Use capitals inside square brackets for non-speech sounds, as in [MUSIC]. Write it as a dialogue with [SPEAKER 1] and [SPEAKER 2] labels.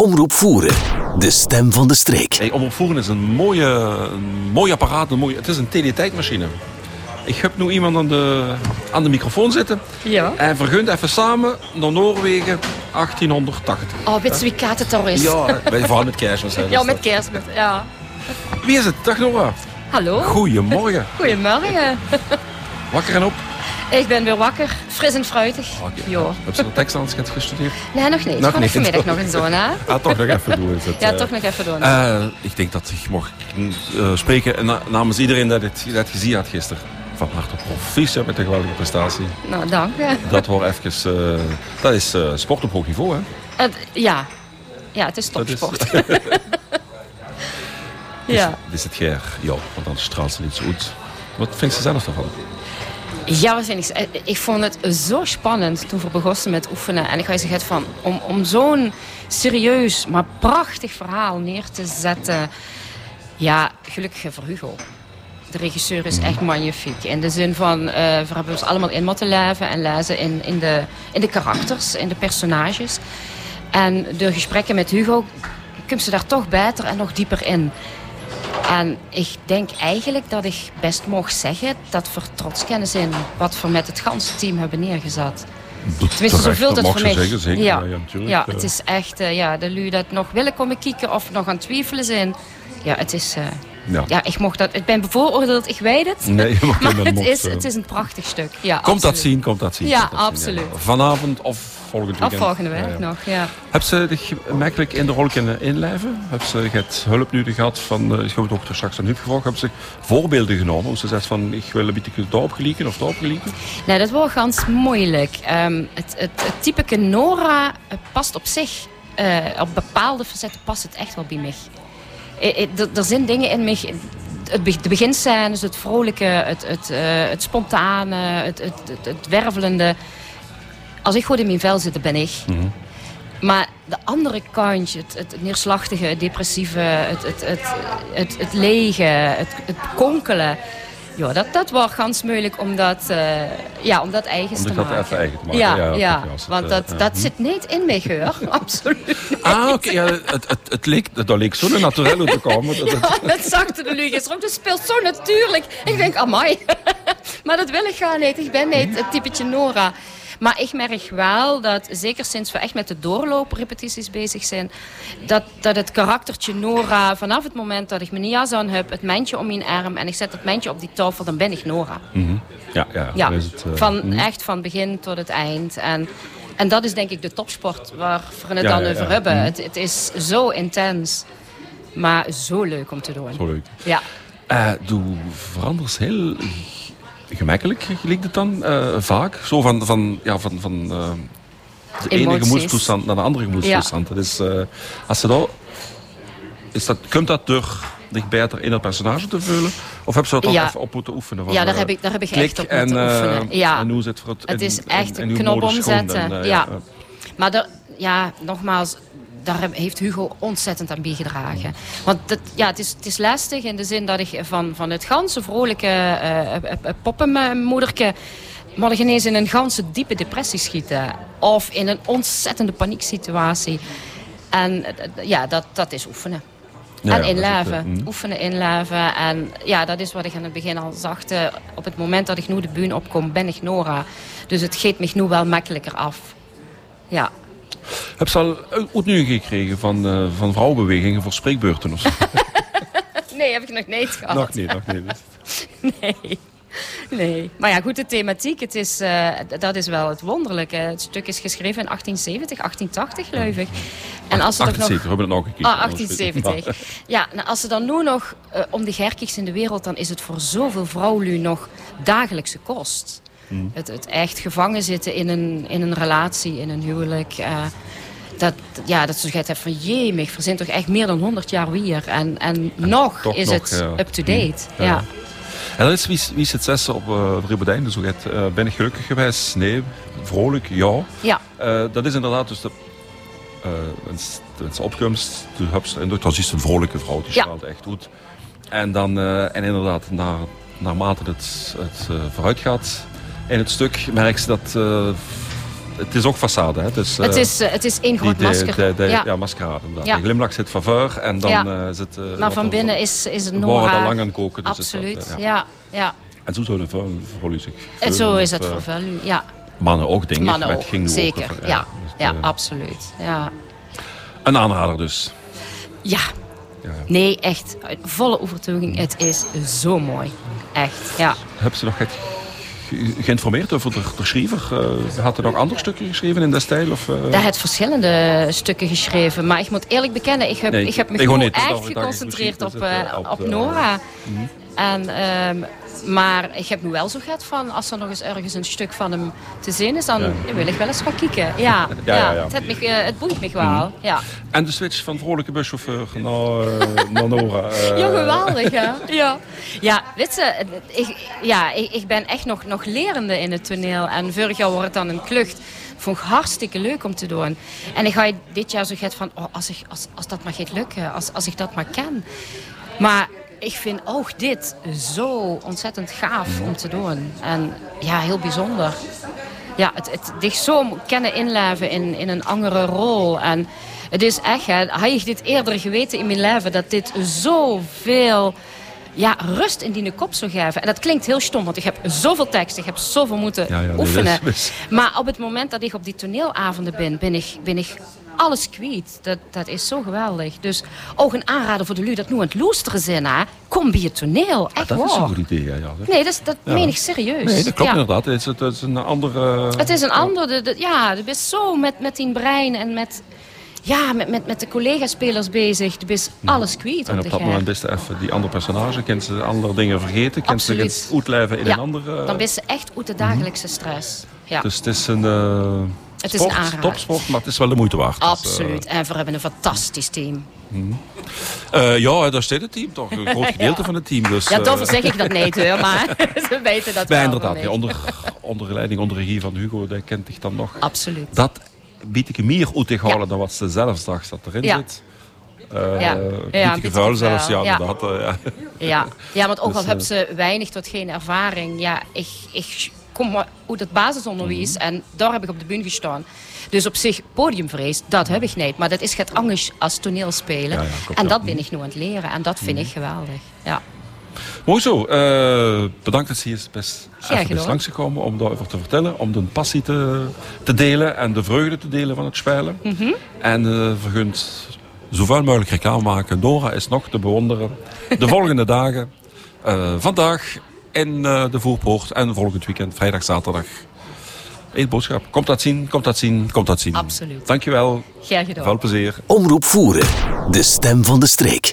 [SPEAKER 1] Omroep Voeren, de stem van de streek.
[SPEAKER 2] Hey, omroep Voeren is een, mooie, een mooi apparaat. Een mooie, het is een teletijdmachine. Ik heb nu iemand aan de, aan de microfoon zitten.
[SPEAKER 3] Ja.
[SPEAKER 2] En vergunt even samen naar Noorwegen 1880.
[SPEAKER 3] Oh, weet je wie Kaat het daar is?
[SPEAKER 2] Ja, wij vooral met kerstmis. hè, dus
[SPEAKER 3] Ja,
[SPEAKER 2] dat-
[SPEAKER 3] met kerstmis. Ja.
[SPEAKER 2] Wie is het? Dag Nora.
[SPEAKER 3] Hallo,
[SPEAKER 2] Goedemorgen.
[SPEAKER 3] goedemorgen.
[SPEAKER 2] Wakker en op.
[SPEAKER 3] Ik ben weer wakker, fris en fruitig.
[SPEAKER 2] Oké.
[SPEAKER 3] Ja.
[SPEAKER 2] Heb ze de tekst aan het gestudeerd?
[SPEAKER 3] Nee, nog niet.
[SPEAKER 2] Nog
[SPEAKER 3] Gewoon
[SPEAKER 2] niet. [LAUGHS]
[SPEAKER 3] vanmiddag nog een zo, hè?
[SPEAKER 2] Ah, toch nog even doen. is het,
[SPEAKER 3] Ja,
[SPEAKER 2] eh.
[SPEAKER 3] toch nog even doen.
[SPEAKER 2] Eh, ik denk dat ik mag eh, spreken na- namens iedereen dat het, dat het gezien had gisteren. Van harte proficiat met de geweldige prestatie.
[SPEAKER 3] Nou, dank. hè.
[SPEAKER 2] Dat, wordt even, eh, dat is eh, sport op hoog niveau, hè?
[SPEAKER 3] Het- ja. ja, het is
[SPEAKER 2] Dat is-
[SPEAKER 3] topsport.
[SPEAKER 2] Is, [LAUGHS]
[SPEAKER 3] Ja.
[SPEAKER 2] is het geer? Ja, want dan straalt ze niet zo goed. Wat vindt ze zelf daarvan?
[SPEAKER 3] Ja, wat vind ik. ze- Eh, Ik vond het zo spannend toen we begonnen met oefenen. En ik had gezegd van, om, om zo'n serieus, maar prachtig verhaal neer te zetten. Ja, gelukkig voor Hugo. De regisseur is echt magnifiek. In de zin van, eh, we hebben ons allemaal in moeten leven en lezen in, in, de, in de karakters, in de personages. En door gesprekken met Hugo komt ze daar toch beter en nog dieper in. En ik denk eigenlijk dat ik best mocht zeggen dat we trots kunnen zijn wat we met het ganse team hebben neergezet. Tenminste, zoveel dat
[SPEAKER 2] mag
[SPEAKER 3] voor
[SPEAKER 2] ze
[SPEAKER 3] mij.
[SPEAKER 2] zeggen, zeker.
[SPEAKER 3] Ja,
[SPEAKER 2] Ja, ja, natuurlijk,
[SPEAKER 3] ja,
[SPEAKER 2] eh.
[SPEAKER 3] het is echt, eh, ja, de lui dat nog willen komen kieken of nog aan het twijfelen zijn. Ja, het is, eh,
[SPEAKER 2] Ja.
[SPEAKER 3] ja, ik mocht dat, ik ben bevooroordeeld, ik weet het.
[SPEAKER 2] Nee,
[SPEAKER 3] [LAUGHS]
[SPEAKER 2] je mag
[SPEAKER 3] maar
[SPEAKER 2] dat
[SPEAKER 3] het
[SPEAKER 2] mocht,
[SPEAKER 3] is,
[SPEAKER 2] eh.
[SPEAKER 3] het is een prachtig stuk. Ja,
[SPEAKER 2] Komt dat
[SPEAKER 3] absoluut.
[SPEAKER 2] zien, komt dat zien.
[SPEAKER 3] Ja,
[SPEAKER 2] komt dat zien,
[SPEAKER 3] absoluut.
[SPEAKER 2] Vanavond of volgend
[SPEAKER 3] Of
[SPEAKER 2] weekend?
[SPEAKER 3] volgende
[SPEAKER 2] Ja,
[SPEAKER 3] week
[SPEAKER 2] ja.
[SPEAKER 3] nog, ja.
[SPEAKER 2] Heb ze zich gemakkelijk in de rol kunnen inlijven? Heb ze het hulp nu gehad van uh, schoondochter straks aan het gevraagd? Hebben ze voorbeelden genomen? Hoe ze zegt van, ik wil een beetje daarop gelieken of daarop gelieken?
[SPEAKER 3] Nee, dat wordt ganz moeilijk. Ehm, het, het, het typeke Nora eh, past op zich. eh, op bepaalde facetten past het echt wel bij mij. Eh, eh, d- Er zijn dingen in mij. Het, be- de beginscènes, het vrolijke, het, het, eh, het spontane, het, het, het, het wervelende. Als ik goed in mijn vel zit, dan ben ik.
[SPEAKER 2] Mhm.
[SPEAKER 3] Maar de andere kant, het, het neerslachtige, het depressieve, het, het, het, het, het lege, het, het konkelen. Ja, dat, dat was gans moeilijk om dat, eh, ja, om dat eigen
[SPEAKER 2] Om
[SPEAKER 3] te
[SPEAKER 2] dat
[SPEAKER 3] maken.
[SPEAKER 2] even eigen te maken,
[SPEAKER 3] Ja,
[SPEAKER 2] ja,
[SPEAKER 3] ja,
[SPEAKER 2] oké, als het,
[SPEAKER 3] want dat,
[SPEAKER 2] eh,
[SPEAKER 3] dat
[SPEAKER 2] hm.
[SPEAKER 3] zit niet in mij, geur. [LAUGHS] Absoluut.
[SPEAKER 2] Ah, oké. ja, het, het, het leek, dat leek zo natuurlijk
[SPEAKER 3] [LAUGHS]
[SPEAKER 2] te komen. Dat, dat-
[SPEAKER 3] dat zag de Lu gisteren ook. Dat speelt zo natuurlijk. Ik denk, amai. [LAUGHS] maar dat wil ik gaan niet. Ik ben niet het typetje Nora. Maar ik merk wel dat, zeker sinds we echt met de doorlooprepetities bezig zijn... dat, dat het karaktertje Nora, vanaf het moment dat ik mijn jas aan heb... het mandje om mijn arm en ik zet dat mandje op die tafel, dan ben ik Nora.
[SPEAKER 2] ja, ja.
[SPEAKER 3] Ja,
[SPEAKER 2] dan is het, eh,
[SPEAKER 3] van, echt van begin tot het eind. En, en dat is denk ik de topsport waar we het
[SPEAKER 2] Ja, ja,
[SPEAKER 3] dan
[SPEAKER 2] Mm. ja.
[SPEAKER 3] over hebben. Het, het is zo intens, maar zo leuk om te doen.
[SPEAKER 2] Zo leuk.
[SPEAKER 3] Ja.
[SPEAKER 2] Eh, doe veranders heel g- gemakkelijk, lijkt het dan, eh, vaak. Zo van, van, ja, van, van eh, de ene
[SPEAKER 3] Emoties.
[SPEAKER 2] gemoedstoestand naar de andere gemoedstoestand. Dat is, eh, als ze dat, is dat, komt dat door zich beter in dat personage te vullen? Of heb ze dat ook
[SPEAKER 3] Ja.
[SPEAKER 2] even op moeten oefenen? Van,
[SPEAKER 3] Ja, daar
[SPEAKER 2] eh,
[SPEAKER 3] heb ik- daar heb ik
[SPEAKER 2] klik
[SPEAKER 3] echt op
[SPEAKER 2] en,
[SPEAKER 3] moeten
[SPEAKER 2] eh,
[SPEAKER 3] oefenen. Ja.
[SPEAKER 2] En hoe zit voor het,
[SPEAKER 3] Het
[SPEAKER 2] in-
[SPEAKER 3] is
[SPEAKER 2] in-
[SPEAKER 3] echt
[SPEAKER 2] in
[SPEAKER 3] een
[SPEAKER 2] uw
[SPEAKER 3] knop
[SPEAKER 2] modus schoon
[SPEAKER 3] omzetten.
[SPEAKER 2] dan, eh,
[SPEAKER 3] ja.
[SPEAKER 2] eh.
[SPEAKER 3] Maar daar- ja, nogmaals, daar heb- heeft Hugo ontzettend aan bijgedragen. Want dat, ja, het, is, het is lastig in de zin dat ik van, van het ganse vrolijke eh, eh, eh, poppenmoederke... maar ineens in een ganse diepe depressie schieten. Of in een ontzettende panieksituatie. En eh, eh, ja, dat, dat is oefenen.
[SPEAKER 2] Ja,
[SPEAKER 3] en
[SPEAKER 2] ja, dat is het,
[SPEAKER 3] inleven.
[SPEAKER 2] eh, mm.
[SPEAKER 3] Oefenen inleven. En ja, dat is wat ik aan het begin al zag. eh, Op het moment dat ik nu de buun opkom, ben ik Nora. Dus het geeft me nu wel makkelijker af. Ja.
[SPEAKER 2] Heb ze al eh, nu gekregen van, eh, van vrouwenbewegingen voor spreekbeurten of zo?
[SPEAKER 3] Nee, heb ik nog niet gehad.
[SPEAKER 2] [LAUGHS] nog niet, nog niet.
[SPEAKER 3] [LAUGHS] Nee. Nee. Maar ja, goed, de thematiek, het is, eh, d- dat is wel het wonderlijke. Het stuk is geschreven in 1870, 1880, geloof ik. En als er toch
[SPEAKER 2] 78,
[SPEAKER 3] nog...
[SPEAKER 2] we hebben het nog gekeken.
[SPEAKER 3] Ah, 1870. Ja, nou, als ze dan nu nog eh, om de gerkigs in de wereld... dan is het voor zoveel vrouwen nog dagelijkse kost.
[SPEAKER 2] Hmm.
[SPEAKER 3] Het, het echt gevangen zitten in een, in een relatie, in een huwelijk... eh, dat, ja, dat ze zoiets hebben van... jemig, er zijn toch echt meer dan 100 jaar weer. En, en, nog
[SPEAKER 2] toch
[SPEAKER 3] is
[SPEAKER 2] nog,
[SPEAKER 3] het
[SPEAKER 2] ja. Hmm.
[SPEAKER 3] up-to-date.
[SPEAKER 2] Ja.
[SPEAKER 3] ja.
[SPEAKER 2] En dat is wie, wie zit zes op uh, Ribodijn, dus hoe gaat, eh, ben ik gelukkig geweest? Nee. Vrolijk? Ja.
[SPEAKER 3] ja.
[SPEAKER 2] Eh, dat is inderdaad dus de, eh wens- de wens opkomst. Toen heb ze, en dat was juist een vrolijke vrouw, die
[SPEAKER 3] Ja.
[SPEAKER 2] straalt echt goed. En, dan, eh, en inderdaad, naar, naarmate het, het eh, vooruit gaat in het stuk, merk ze dat eh, het is ook façade. Hè? Het is, eh,
[SPEAKER 3] het, is, eh, het is één
[SPEAKER 2] die-
[SPEAKER 3] groot
[SPEAKER 2] die-
[SPEAKER 3] masker.
[SPEAKER 2] die- die-
[SPEAKER 3] ja.
[SPEAKER 2] ja. maskerade. inderdaad.
[SPEAKER 3] Ja.
[SPEAKER 2] De glimlach zit van vuur en dan
[SPEAKER 3] Ja.
[SPEAKER 2] eh, zit... eh,
[SPEAKER 3] Maar
[SPEAKER 2] wat
[SPEAKER 3] van
[SPEAKER 2] er-
[SPEAKER 3] binnen is, is het
[SPEAKER 2] We waren
[SPEAKER 3] Nora.
[SPEAKER 2] al lang aan het koken. Dus is dat,
[SPEAKER 3] Absoluut,
[SPEAKER 2] eh, ja.
[SPEAKER 3] ja. ja.
[SPEAKER 2] En zo zou een vuil- verholen zich
[SPEAKER 3] En zo
[SPEAKER 2] veulen
[SPEAKER 3] is het
[SPEAKER 2] of, eh,
[SPEAKER 3] voor value, ja.
[SPEAKER 2] Mannen ook, denk ik.
[SPEAKER 3] Mannen
[SPEAKER 2] maar
[SPEAKER 3] ook,
[SPEAKER 2] het ging nu ook
[SPEAKER 3] nou, zeker.
[SPEAKER 2] over,
[SPEAKER 3] ja,
[SPEAKER 2] dus het,
[SPEAKER 3] ja
[SPEAKER 2] eh,
[SPEAKER 3] absoluut. Ja.
[SPEAKER 2] Een aanrader dus.
[SPEAKER 3] ja,
[SPEAKER 2] Ja.
[SPEAKER 3] nee, echt. Uit volle overtuiging. Het is zo mooi. Echt, ja.
[SPEAKER 2] Heb ze nog ge- ge- geïnformeerd over de, de schrijver? Eh, had er nog andere stukken geschreven in dat stijl? Of, eh,
[SPEAKER 3] Daar heeft verschillende stukken geschreven. Maar ik moet eerlijk bekennen, ik heb,
[SPEAKER 2] Nee,
[SPEAKER 3] ik heb me
[SPEAKER 2] ik ook
[SPEAKER 3] gewoon
[SPEAKER 2] niet. Dus
[SPEAKER 3] echt
[SPEAKER 2] daarom dacht ik
[SPEAKER 3] geconcentreerd op,
[SPEAKER 2] misschien is het,
[SPEAKER 3] eh,
[SPEAKER 2] eh, Mhm. op
[SPEAKER 3] op
[SPEAKER 2] de-
[SPEAKER 3] Nora. En, ehm, maar ik heb nu wel zo gehad van, als er nog eens ergens een stuk van hem te zien is, dan
[SPEAKER 2] Ja.
[SPEAKER 3] wil ik wel eens gaan kijken. Ja, ja,
[SPEAKER 2] [LAUGHS] ja, ja. Mhm.
[SPEAKER 3] Het, heeft me, ge- het boeit me wel. Ja.
[SPEAKER 2] En de switch van vrolijke buschauffeur naar, eh, naar Nora. eh,
[SPEAKER 3] Ja, geweldig, hè? Ja, ja weet je, ik, ja, ik, ik ben echt nog, nog lerende in het toneel. En vorig jaar wordt het dan een klucht. Vond ik hartstikke leuk om te doen. En ik ga dit jaar zo gek van, oh, als, ik, als, als dat maar gaat lukken, als, als ik dat maar ken. Maar ik vind ook dit zo ontzettend gaaf om te doen. En ja, heel bijzonder. Ja, het, het zich zo kennen inleven in, in een andere rol. En het is echt, hè, had ik dit eerder geweten in mijn leven, dat dit zoveel ja, rust in die kop zou geven. En dat klinkt heel stom, want ik heb zoveel tekst, ik heb zoveel moeten
[SPEAKER 2] Ja, ja, nee, dat is
[SPEAKER 3] oefenen.
[SPEAKER 2] best.
[SPEAKER 3] Maar op het moment dat ik op die toneelavonden ben, ben ik, ben ik alles kwijt. Dat, dat is zo geweldig. Dus ook een aanrader voor de lui dat nu aan het loesteren zijn, hè. Kom bij het toneel, echt
[SPEAKER 2] Ah, Dat is
[SPEAKER 3] waar.
[SPEAKER 2] een goed idee, ja. ja.
[SPEAKER 3] Nee, dat, is- dat
[SPEAKER 2] Ja.
[SPEAKER 3] meen ik serieus.
[SPEAKER 2] Nee, dat klopt
[SPEAKER 3] Dus, Ja.
[SPEAKER 2] inderdaad. Het is, het is een andere...
[SPEAKER 3] Het is een ander, de, de- ja, je bent zo met, met die brein en met, ja, met, met, met de collega-spelers bezig. Je bent alles kwijt
[SPEAKER 2] En
[SPEAKER 3] op
[SPEAKER 2] op
[SPEAKER 3] de
[SPEAKER 2] dat moment is het even die andere personage. Kent ze andere dingen vergeten. Kent ze
[SPEAKER 3] Absoluut.
[SPEAKER 2] het uitleven in
[SPEAKER 3] Ja,
[SPEAKER 2] een andere...
[SPEAKER 3] dan ben je echt uit de dagelijkse stress.
[SPEAKER 2] eh,
[SPEAKER 3] Ja,
[SPEAKER 2] Mhm. Dus het is een... eh,
[SPEAKER 3] Het is
[SPEAKER 2] sport,
[SPEAKER 3] een aanrader.
[SPEAKER 2] Topsport, maar het is wel de moeite waard. Dus, eh,
[SPEAKER 3] absoluut. En we hebben een fantastisch team.
[SPEAKER 2] eh, ja, daar zit het team toch. Een
[SPEAKER 3] [LAUGHS]
[SPEAKER 2] groot gedeelte van het team. Dus,
[SPEAKER 3] Ja,
[SPEAKER 2] eh,
[SPEAKER 3] daarvoor zeg ik dat niet hoor, maar [LAUGHS] ze weten dat
[SPEAKER 2] Ja,
[SPEAKER 3] wel
[SPEAKER 2] inderdaad. Ja,
[SPEAKER 3] van mij.
[SPEAKER 2] onder, onder leiding, onder regie van Hugo, dat kent zich dan nog.
[SPEAKER 3] Absoluut.
[SPEAKER 2] Dat biedt ik meer uit te houden dan wat ze zelf dacht dat erin
[SPEAKER 3] Ja.
[SPEAKER 2] zit. Eh
[SPEAKER 3] Ja,
[SPEAKER 2] ja,
[SPEAKER 3] beetje
[SPEAKER 2] vuil zelfs, ja,
[SPEAKER 3] vuil, ja.
[SPEAKER 2] inderdaad. eh, ja. [LAUGHS]
[SPEAKER 3] Ja, ja want ook
[SPEAKER 2] Dus,
[SPEAKER 3] al
[SPEAKER 2] eh,
[SPEAKER 3] hebben ze weinig tot geen ervaring. Ja, ik, ik kom maar uit het basisonderwijs
[SPEAKER 2] Mhm.
[SPEAKER 3] en daar heb ik op de bühne gestaan. Dus op zich, podiumvrees, dat heb ik niet. Maar dat is het anders als toneelspelen.
[SPEAKER 2] Ja, ja, klopt,
[SPEAKER 3] en
[SPEAKER 2] ja. Mhm.
[SPEAKER 3] dat ben ik nu aan het leren. En dat vind ik geweldig. Ja.
[SPEAKER 2] Mooi zo. eh, bedankt dat ze hier best,
[SPEAKER 3] Graag
[SPEAKER 2] even best
[SPEAKER 3] gedaan.
[SPEAKER 2] langsgekomen om daarover te vertellen. Om de passie te, te delen en de vreugde te delen van het spelen.
[SPEAKER 3] Mhm.
[SPEAKER 2] En eh vergunt zoveel mogelijk reclame maken. Dora is nog te bewonderen. De volgende [LAUGHS] dagen. eh, vandaag in eh, de Voorpoort en volgend weekend, vrijdag, zaterdag. Eén boodschap. Komt dat zien, komt dat zien, komt dat zien.
[SPEAKER 3] Absoluut.
[SPEAKER 2] Dankjewel.
[SPEAKER 3] Graag gedaan.
[SPEAKER 2] Veel plezier.
[SPEAKER 1] Omroep Voeren, de stem van de streek.